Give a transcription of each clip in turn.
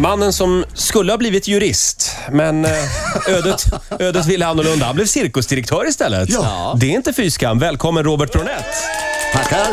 Mannen som skulle ha blivit jurist, men eh, ödet, ödet ville annorlunda. Han blev cirkusdirektör istället. Ja. Det är inte fy skam. Välkommen Robert Bronett. Tackar.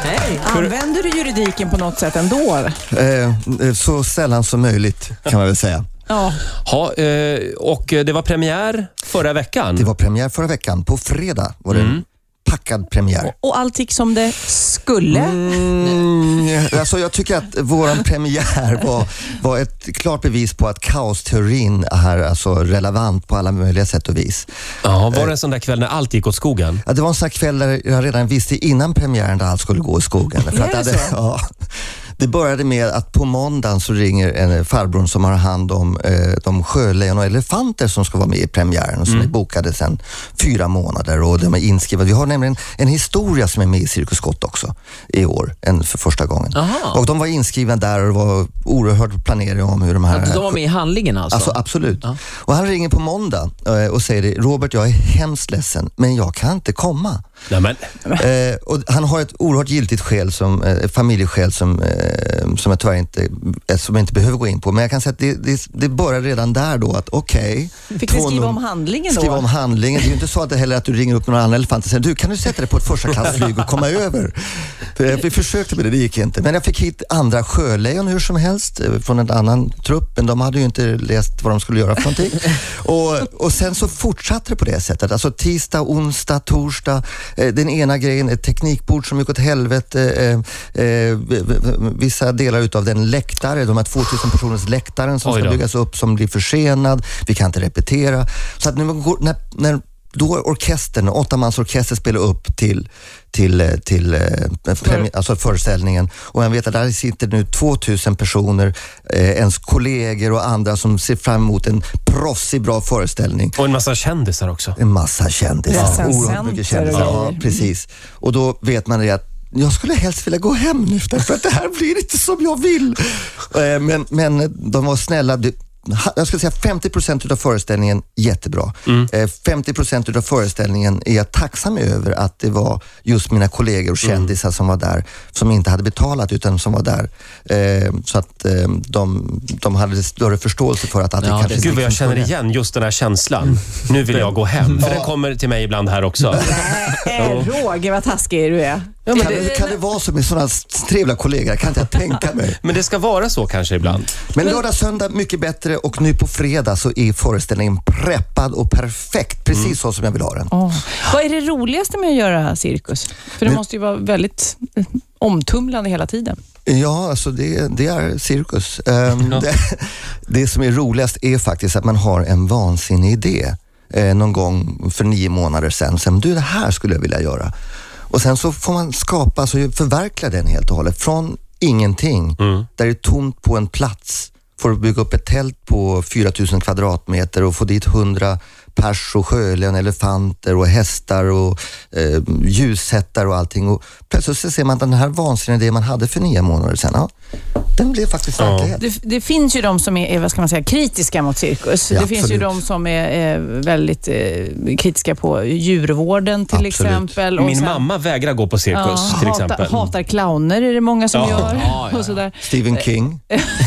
Hej. Använder du juridiken på något sätt ändå? Eh, så sällan som möjligt kan man väl säga. Ja. Ha, eh, och eh, det var premiär förra veckan. Det var premiär förra veckan. På fredag var det en packad premiär. Och allt gick som det skulle. Mm, alltså jag tycker att vår premiär var, var ett klart bevis på att kaosteorin är alltså relevant på alla möjliga sätt och vis. Ja, var det en sån där kväll när allt gick åt skogen? Ja, det var en sån här kväll där jag redan visste innan premiären där allt skulle gå i skogen. För att Är det hade- ja, det började med att på måndagen så ringer en farbror som har hand om eh, de sjölejon och elefanter som ska vara med i premiären och som Mm. är bokade sedan fyra månader och de är inskrivna. Vi har nämligen en historia som är med i Cirkus Scott också i år, en för första gången. Aha. Och de var inskrivna där och det var oerhörd planering om hur de här... De var med i handlingen alltså? Alltså absolut. Och han ringer på måndag eh, och säger det, Robert jag är hemskt ledsen men jag kan inte komma. Nej, men, Eh, och han har ett oerhört giltigt skäl, som, eh, familjeskäl som, eh, som jag tyvärr inte, eh, som jag inte behöver gå in på. Men jag kan säga att det, det, det börjar redan där då att okej. Fick ni två skriva num- om handlingen då? Skriva om handlingen. Det är ju inte så att det heller att du ringer upp någon annan elefant och säger du kan du sätta dig på ett första klassflyg och komma över? För Vi försökte med det, det gick inte. Men jag fick hit andra sjölejon hur som helst eh, från en annan trupp, men de hade ju inte läst vad de skulle göra för någonting. Och, och sen så fortsatte det på det sättet. Alltså tisdag, onsdag, torsdag. Eh, Den ena grejen, ett teknikbord som gick åt helvete. eh, eh, v- v- Vissa delar utav den läktare, de här 2000 personers läktaren som Oj ska då. byggas byggas upp som blir försenad, vi kan inte repetera. Så att när, man går, när, när då orkestern, åttamansorkester spelar upp till, till, eh, till eh, premi- alltså föreställningen och jag vet att där sitter nu 2000 personer, eh, ens kollegor och andra som ser fram emot en proffsig bra föreställning. och en massa kändisar också. En massa kändisar. Recensenter Oerhört mycket kändisar. och Ja, grejer. precis. Och då vet man det att jag skulle helst vilja gå hem nu därför att det här blir inte som jag vill. Eh, Men, men de var snälla. Du- ha- Jag skulle säga 50 procent av föreställningen jättebra. Eh, 50 procent av föreställningen är jag tacksam över att det var just mina kollegor och kändisar som var där, som inte hade betalat utan som var där. Eh, Så att eh, de, de hade större förståelse för att, att det Ja, kanske det- Gud vad jag liksom känner kunde- igen just den här känslan. Nu vill jag gå hem. För den kommer till mig ibland här också. Eh, Roger, vad taskig du är. kan, det, kan det vara så med sådana trevliga kollegor? Kan inte jag tänka mig. Men det ska vara så kanske ibland. Men lördag, söndag mycket bättre och nu på fredag så är föreställningen preppad och perfekt. Precis så som jag vill ha den. Åh. Vad är det roligaste med att göra cirkus? För det måste ju vara väldigt eh, omtumlande hela tiden. Ja, alltså det, det är cirkus. Ehm, det, det som är roligast är faktiskt att man har en vansinnig idé eh, någon gång för nio månader sedan. Sen, du, det här skulle jag vilja göra. Och sen så får man skapa, alltså förverkliga den helt och hållet. Från ingenting, där det är tomt på en plats, får du bygga upp ett tält på 4000 kvadratmeter och få dit 100 pers och sjölejon, elefanter och hästar och eh, ljussättare och allting. Och plötsligt så ser man att den här vansinniga idén man hade för nio månader sedan, ja, den blev faktiskt verklighet. Det, det finns ju de som är, är, vad ska man säga, kritiska mot cirkus. Ja, det finns absolut. ju de som är, eh, väldigt eh, kritiska på djurvården till Absolut. exempel. och Min sen- mamma vägrar gå på cirkus till hatar, exempel. hatar clowner är det många som Ja. gör. Ja, ja, Och sådär. Stephen Eh, King.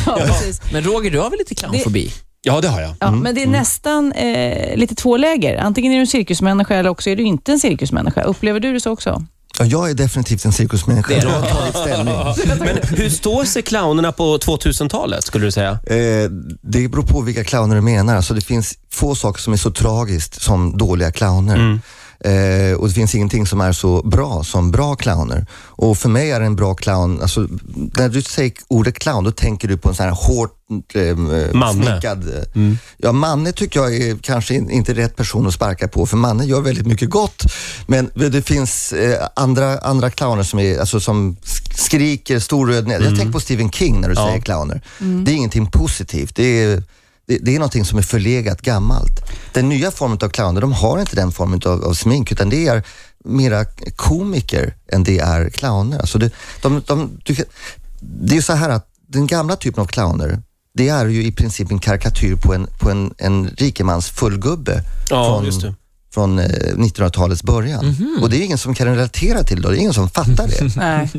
Ja, precis. Men Roger, du har väl lite clownfobi? Ja, det har jag. Mm. Ja, Men det är nästan eh, lite två läger. Antingen är du en cirkusmänniska eller också är du inte en cirkusmänniska. Upplever du det så också? Ja, jag är definitivt en cirkusmänniska. Det är Jag har tagit ställning. Men hur står sig clownerna på 2000-talet skulle du säga? Eh, det beror på vilka clowner du menar. Alltså, det finns få saker som är så tragiskt som dåliga clowner. Eh, och det finns ingenting som är så bra som bra clowner. Och för mig är en bra clown, alltså, när du säger ordet clown, då tänker du på en sån här hårt eh, Manne. snickad... eh, Ja, Manne tycker jag är kanske in- inte rätt person att sparka på, för Manne gör väldigt mycket gott. Men det finns eh, andra, andra clowner som, är, alltså, som sk- skriker stor röd nä- Jag tänker på Stephen King när du säger clowner. Det är ingenting positivt. Det är, det, det är någonting som är förlegat, gammalt. Den nya formen av clowner, de har inte den formen av, av smink, utan det är mera komiker än det är clowner. Alltså det, de, de, du, kan- det är så här att den gamla typen av clowner, det är ju i princip en karikatyr på en, på en, en rikemans fullgubbe Ja, från, just det. Mhm. från eh, 1900-talets början. Och det är ingen som kan relatera till det och det är ingen som fattar det. Nej.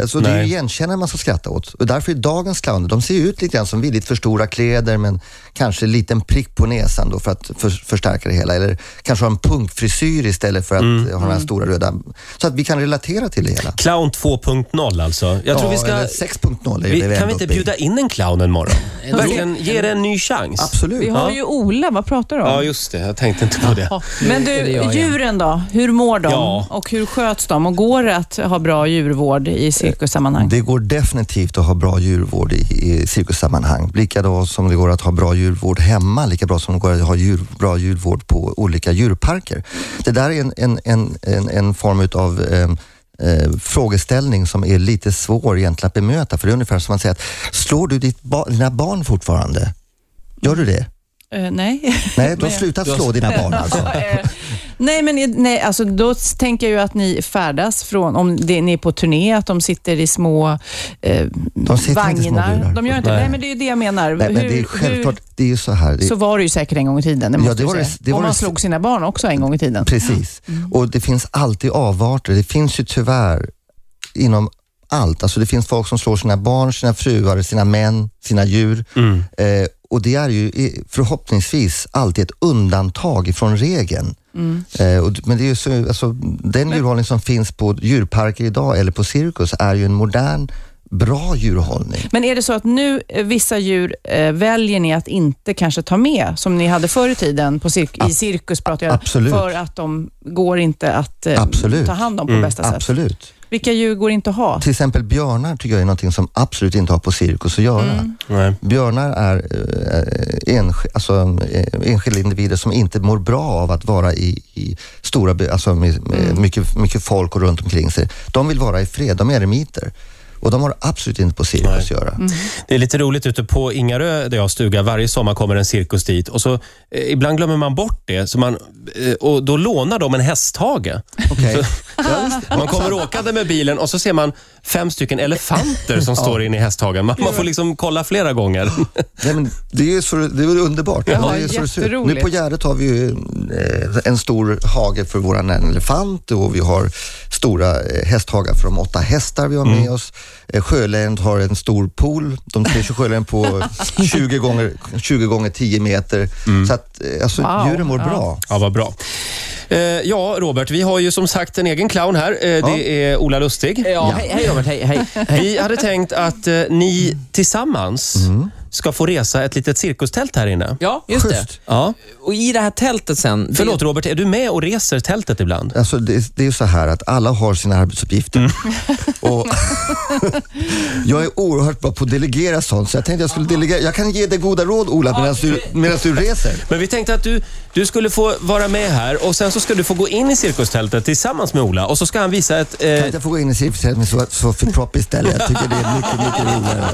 Eh, så det är Nej. ju igenkännare man ska skratta åt. Och därför är dagens clowner, de ser ju ut lite grann som villigt för stora kläder men kanske en liten prick på näsan då för att för, förstärka det hela. Eller kanske ha en punkfrisyr istället för att Mm. eh, ha den här stora röda. Så att vi kan relatera till det hela. Clown 2.0 alltså. Jag tror ja, vi ska... eller 6.0 är Vi, det kan ändå vi inte uppe i. bjuda in en clown en morgon? Jo. Verkligen ge det en ny chans. Absolut. Vi har Ja. ju Ola, vad pratar du om? Ja, just det. Jag tänkte inte på det. Men det du, är det jag igen. djuren då? Hur mår de? Ja. Och hur sköts de? Och går det att ha bra djurvård i cirkussammanhang? Det går definitivt att ha bra djurvård i, i cirkussammanhang. Lika då som det går att ha bra djurvård hemma, lika bra som det går att ha djur, bra djurvård på olika djurparker. Det där är en, en, en, en, en form utav ehm, Eh, frågeställning som är lite svår egentligen att bemöta. För det är ungefär som man säger att, slår du ditt ba- dina barn fortfarande? Gör du det? Eh, nej. Nej, du har slutat slå dina barn alltså. Eh, nej, men nej, alltså, då s- tänker jag ju att ni färdas från, om det, ni är på turné, att de sitter i små eh, De sitter vagnar. inte i små burar. De gör inte, nej. Nej. men det är ju det jag menar. Nej, men det är Hur- självklart, det är ju så här. Det, hur, så var det ju säkert en gång i tiden, Ja, det måste det du var det- säga. det var och man det- slog sina barn också en gång i tiden. Precis. Och det finns alltid avarter. Det finns ju tyvärr inom allt. Alltså det finns folk som slår sina barn, sina fruar, sina män, sina djur. Eh, och det är ju i- förhoppningsvis alltid ett undantag ifrån regeln. Eh, och, d- men det är ju så, alltså, den djurhållning som finns på djurparker idag eller på cirkus är ju en modern, bra djurhållning. Men är det så att nu eh, vissa djur eh, väljer ni att inte kanske ta med, som ni hade förr i tiden på cirk- i cirkus, pratar jag, absolut. för att de går inte att eh, Absolut. ta hand Mm, om på bästa sätt? Absolut. Vilka djur går inte att ha? Till exempel björnar tycker jag är någonting som absolut inte har på cirkus att göra. Nej. Björnar är eh, ensk- alltså, eh, enskilda individer som inte mår bra av att vara i, i stora, by- alltså med, med mycket, mycket folk och runt omkring sig. De vill vara i fred, de är eremiter. Och de har absolut inte på cirkus att göra. Det är lite roligt ute på Ingarö där jag har stuga. Varje sommar kommer en cirkus dit och så eh, ibland glömmer man bort det så man, eh, och då lånar de en hästhage. Okej. Man kommer åkande med bilen och så ser man fem stycken elefanter som står inne i hästhagen. Man, man får liksom kolla flera gånger. Nej, men det är ju så, det är väl underbart. Ja, det är så det ser ut. nu jätteroligt. på Gärdet har vi ju eh, en stor hage för våran elefant och vi har stora eh, hästhagar för de åtta hästar vi har med Mm. oss. Eh, Sjölejonet har en stor pool. De trivs sjölejon på 20 gånger, 20 gånger 10 meter. Så att eh, alltså, Mm. Wow, djuren mår ja. bra. Ja, vad bra. Eh, ja, Robert, vi har ju som sagt en egen clown här. Eh, Det är Ola Lustig. Ja, hej, hej Robert, hej, hej. Vi hade tänkt att eh, ni tillsammans ska få resa ett litet cirkustält här inne. Ja, just det. Schysst. Ja. Och i det här tältet sen. det- Förlåt Robert, är du med och reser tältet ibland? Alltså det, det är så här att alla har sina arbetsuppgifter. Och jag är oerhört bra på att delegera sånt, så jag tänkte jag skulle delegera. Jag kan ge dig goda råd Ola medan du, medans du reser. Men vi tänkte att du, du skulle få vara med här och sen så ska du få gå in i cirkustältet tillsammans med Ola och så ska han visa ett... Kan Eh, inte jag få gå in i cirkusen med Sof- Sofie Propp istället? Jag tycker det är mycket, mycket roligare.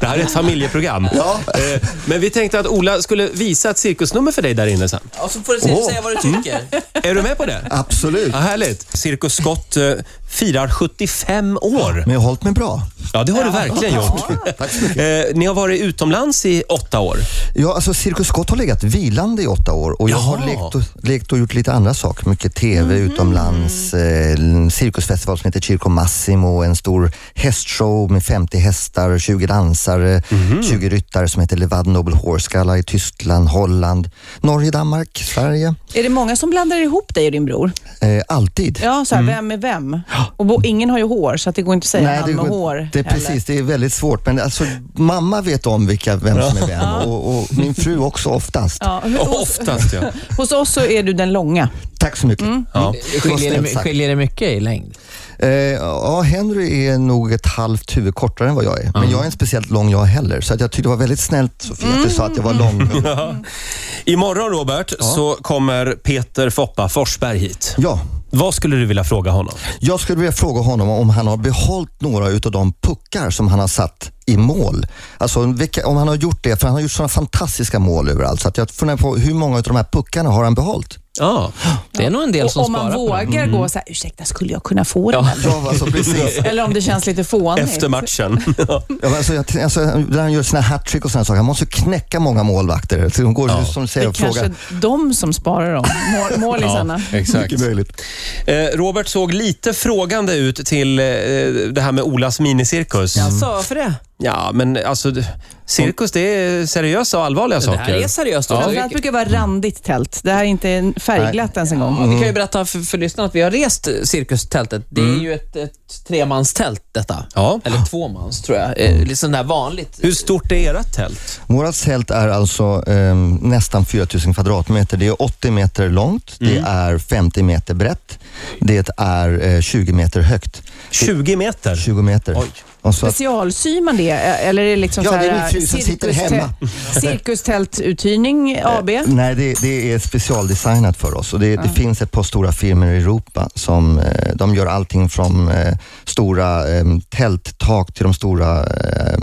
det här är ett familjeprogram. Ja. Eh, men vi tänkte att Ola skulle visa ett cirkusnummer för dig där inne sen. Ja, så får du se, Åh. säga vad du Mm. tycker. Är du med på det? Absolut. Ja, härligt. Cirkus Scott eh, firar 75 år. Men jag har hållit mig bra. Ja, det har du verkligen gjort. Tack så mycket. Eh, ni har varit utomlands i åtta år. Ja, alltså Cirkus Scott har legat vilande i åtta år och jag har Jaha. lekt och, lekt och gjort lite andra saker. Mycket TV utomlands, eh, en cirkusfestival som heter Circo Massimo, en stor hästshow med 50 hästar, 20 dansare, 20 ryttare som heter Levad Noble Horse Gala i Tyskland, Holland, Norge, Danmark, Sverige. Är det många som blandar ihop dig och din bror? Eh, alltid. Ja, så här, Mm. vem är vem? Och bo, ingen har ju hår, så att det går inte att säga han med går- hår. Det är heller. precis, det är väldigt svårt. Men alltså, mamma vet om vilka, vem som är vem och, och min fru också oftast. Ja, hur, hos, Oftast ja. hos oss så är du den långa. Tack så mycket. Mm. ja. Skiljer det, sagt. skiljer det mycket i längd? Eh, ja, Henry är nog ett halvt huvud kortare än vad jag är. Men jag är inte speciellt lång jag heller. Så att jag tyckte det var väldigt snällt Sofia att du sa att jag var lång. Imorgon Robert så kommer Peter Foppa Forsberg hit. Ja, Vad skulle du vilja fråga honom? jag skulle vilja fråga honom om han har behållit några utav de puckar som han har satt i mål. Alltså vilka, om han har gjort det, för han har gjort sådana fantastiska mål överallt. Så att jag funderar på hur många utav de här puckarna har han behållit? Ja, det är nog en del Och som om man sparar på det. Mm. vågar gå så här, ursäkta, skulle jag kunna få den här Ja, alltså, precis. frågan? Eller om det känns lite fånigt. Efter matchen. Ja. Ja, men alltså, jag, alltså, när han gör sina hattrick och sådana saker, han måste knäcka många målvakter. Så de går Ja. ja. som du Det säger är och frågar. kanske de som sparar dem, mål- målisarna. exakt. Mycket möjligt. Eh, Robert såg lite frågande ut till eh, det här med Olas minicirkus. Ja, Jag sa för det. men alltså d- cirkus det är seriösa och allvarliga Det saker. här är seriöst också. Framförallt brukar det vara randigt tält. Det här är inte färgglatt ens en gång. Vi kan ju berätta för, för lyssnarna att vi har rest eh, cirkustältet. Det är ju ett, ett tremanstält detta. Ja. Eller tvåmans tror jag. Eh, Lite sån där vanligt. Hur stort är ert tält? Vårat tält är alltså eh, nästan 4000 kvadratmeter. Det är 80 meter långt, Mm. det är 50 meter brett, det är eh, 20 meter högt. 20 meter? 20 meter. Oj. Och så att, Specialsyr man det? Eller är det liksom Ja, så det är här, min fru som sitter cirkustält- hemma. Eh, Cirkustältuthyrning AB? nej, det, det är specialdesignat för oss. Och det, det finns ett par stora firmor i Europa som eh, de gör allting från eh, stora eh, tälttak till de stora eh,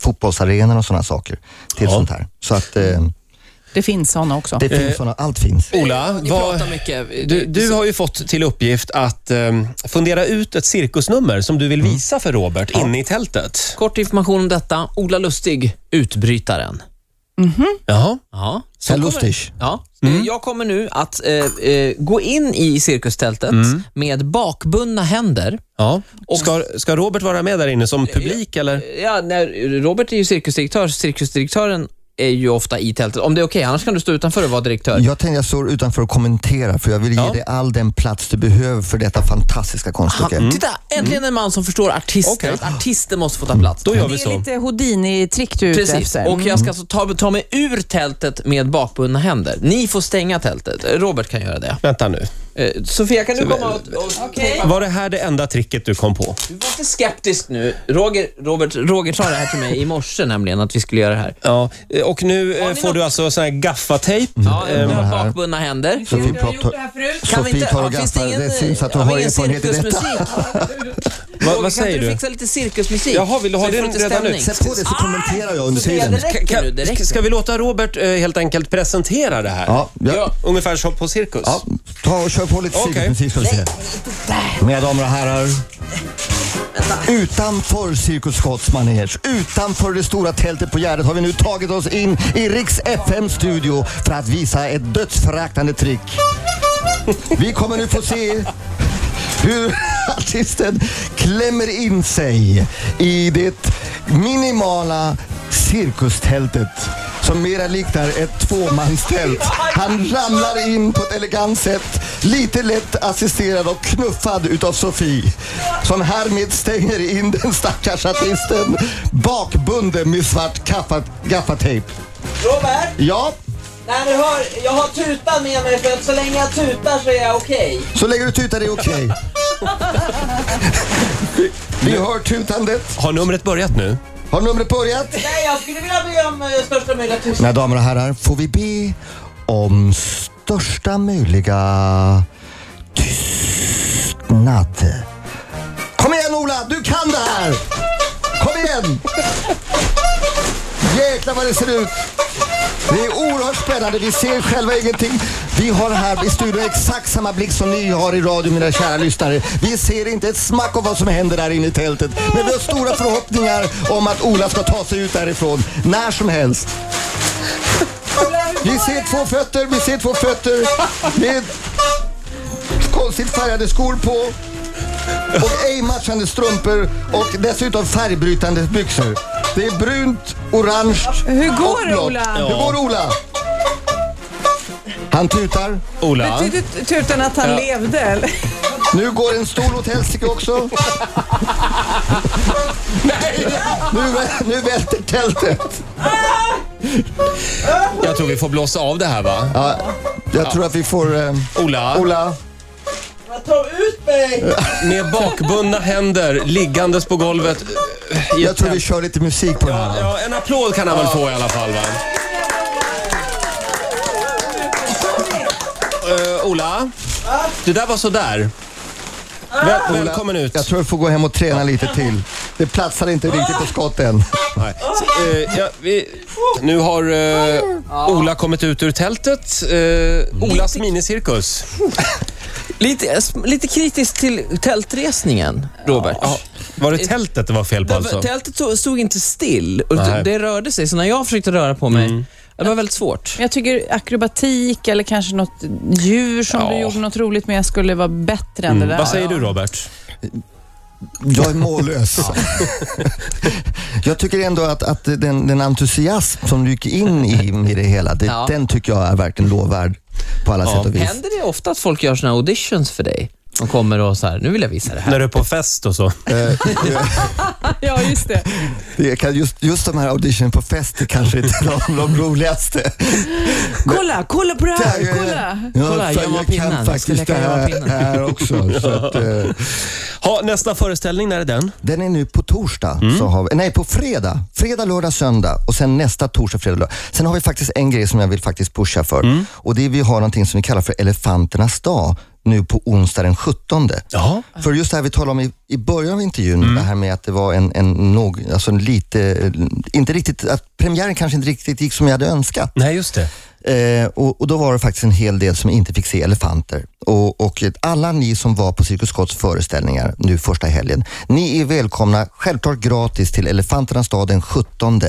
fotbollsarenorna och sådana saker. Till Ja. sånt här. Så att eh, Det finns sådana också. det Eh, finns såna, allt finns. Ola, Ni vad- pratar mycket. du, du har ju fått till uppgift att eh, fundera ut ett cirkusnummer som du vill visa för Robert inne i tältet. Kort information om detta. Ola Lustig, utbrytaren. Jaha. Ja. Herr Lustig. Ja. Mm. Eh, Jag kommer nu att eh, eh, gå in i cirkustältet Mm. med bakbundna händer. Ja. Och Eh, ska, ska Robert vara med där inne som publik eller? Eh, Ja, när, Robert är ju cirkusdirektör. Cirkusdirektören är ju ofta i tältet. Om det är okej, annars kan du stå utanför och vara direktör. Jag tänkte jag står utanför och kommenterar för jag vill ge Ja. dig all den plats du behöver för detta fantastiska Han, konststycke. Titta, äntligen en man som förstår artister. Mm. Okej. Att artister måste få ta plats. Då gör Det vi är så. lite Houdini-trick du är ute Precis, efter. och jag Mm. ska alltså ta, ta mig ur tältet med bakbundna händer. Ni får stänga tältet. Eh, Robert kan göra det. Vänta nu. Eh, Sofia, kan du komma och... och okay. Var det här det enda tricket du kom på? Du var lite skeptisk nu. Roger, Robert, Roger sa det här till mig i morse nämligen, att vi skulle göra det här. Ja, och nu eh, ni får något- du alltså sån här gaffatejp. Ja, jag Ehm, har här. bakbundna händer. Så vi pratar... Kan vi Sofie inte, tar och ja, finns det gaffar. ingen, Det syns att du ja, har ingen erfarenhet i detta. cirkusmusik? vad Roger, säger Kan inte du? du fixa lite cirkusmusik? Jaha, vill du ha Så vi den får lite redan stämning? nu? Sätt på det så kommenterar jag under Sofia, tiden. Ah, det räcker Kan- nu. Det ska- räcker. Ska vi låta Robert eh, helt enkelt presentera det här? Ja, ja. Ja. Ungefär som på cirkus? Ja, ta och kör på lite Okej. cirkusmusik ska vi se. Mina damer och herrar. Utanför Cirkus Scotts manege, utanför det stora tältet på Gärdet har vi nu tagit oss in i Riks FM studio för att visa ett dödsföraktande trick. Vi kommer nu få se hur artisten klämmer in sig i det minimala cirkustältet som mera liknar ett tvåmanstält. Han ramlar in på ett elegant sätt, lite lätt assisterad och knuffad utav Sofie som härmed stänger in den stackars artisten bakbunden med svart kaffa- gaffatejp. Robert, Ja, när du hör, jag har tutan med mig för att så länge jag tutar så är jag okej. så lägger du tutan, det är okej. Vi- Vi hör tutandet. Har numret börjat nu? Har numret börjat? Nej, jag skulle vilja be om eh, största möjliga tystnad. Mina damer och herrar, får vi be om största möjliga tystnad. Kom igen Ola, du kan det här! Kom igen! Jäklar vad det ser ut! Det är oerhört spännande, vi ser själva ingenting. Vi har här i studion exakt samma blick som ni har i radio mina kära lyssnare. Vi ser inte ett smack av vad som händer där inne i tältet. Men vi har stora förhoppningar om att Ola ska ta sig ut därifrån när som helst. Vi ser två fötter, vi ser två fötter med konstigt färgade skor på och ej matchande strumpor och dessutom färgbrytande byxor. Det är brunt, orange Mm. Hur går och det, blått. Ola? Hur går det, Ola? Han tutar. Ola? Betydde tutan att han levde? Eller? Nu går en stol åt helsike också. Nu, vä- nu välter tältet. Jag tror vi får blåsa av det här va? Ja, jag tror att vi får... Eh, Ola, Ola, Jag tar ut mig! med bakbundna händer liggandes på golvet. eh, i jag ett tror tält. vi kör lite musik på den här. Ja, en applåd kan han väl få i alla fall va? Eh, Ola? Det där var sådär. Väl, välkommen ut. Jag tror jag får gå hem och träna lite till. Det platsade inte riktigt på skotten. Nej. Så, eh, ja, vi, nu har eh, Ola kommit ut ur tältet. Eh, Olas minicirkus. Lite, lite kritiskt till tältresningen, Robert. Ja, var det tältet det var fel på Det var- alltså? Tältet stod- stod inte still och Nej. det rörde sig, så när jag försökte röra på mig, det var väldigt svårt. Men Jag tycker akrobatik eller kanske något djur som Ja. du gjorde något roligt med skulle vara bättre Mm. än det där. Vad säger du Robert? Jag är mållös. jag tycker ändå att, att den, den entusiasm som du gick in i, i det hela, det, Ja. den tycker jag är verkligen lovvärd på alla sätt och vis. Händer det ofta att folk gör såna auditions för dig? De kommer och så här, nu vill jag visa det här. När du är på fest och så? Ja, just det. Det kan, just, just de här auditionen på fest är kanske inte de, de roligaste. Kolla, kolla på det här, kolla. Ja, Kolla, fan, gömma jag kan pinnen. Skulle faktiskt jag det kunna gömma här, pinnen? här också. Så att, eh, Ha, nästa föreställning, när är den? Den är nu på torsdag. Så har vi, nej, på fredag. Fredag, lördag, söndag och sen nästa torsdag, fredag, lördag. Sen har vi faktiskt en grej som jag vill faktiskt pusha för. Och det är vi har någonting som vi kallar för elefanternas dag nu på onsdag den 17. Ja. För just det här vi talade om i, i början av intervjun, det här med att det var en, en, nog, alltså en lite, inte riktigt, att premiären kanske inte riktigt gick som jag hade önskat. Nej, just det. Eh, och, och då var det faktiskt en hel del som inte fick se elefanter. Och, och alla ni som var på Cirkus Scotts föreställningar nu första helgen, ni är välkomna, självklart gratis, till Elefanternas dag den 17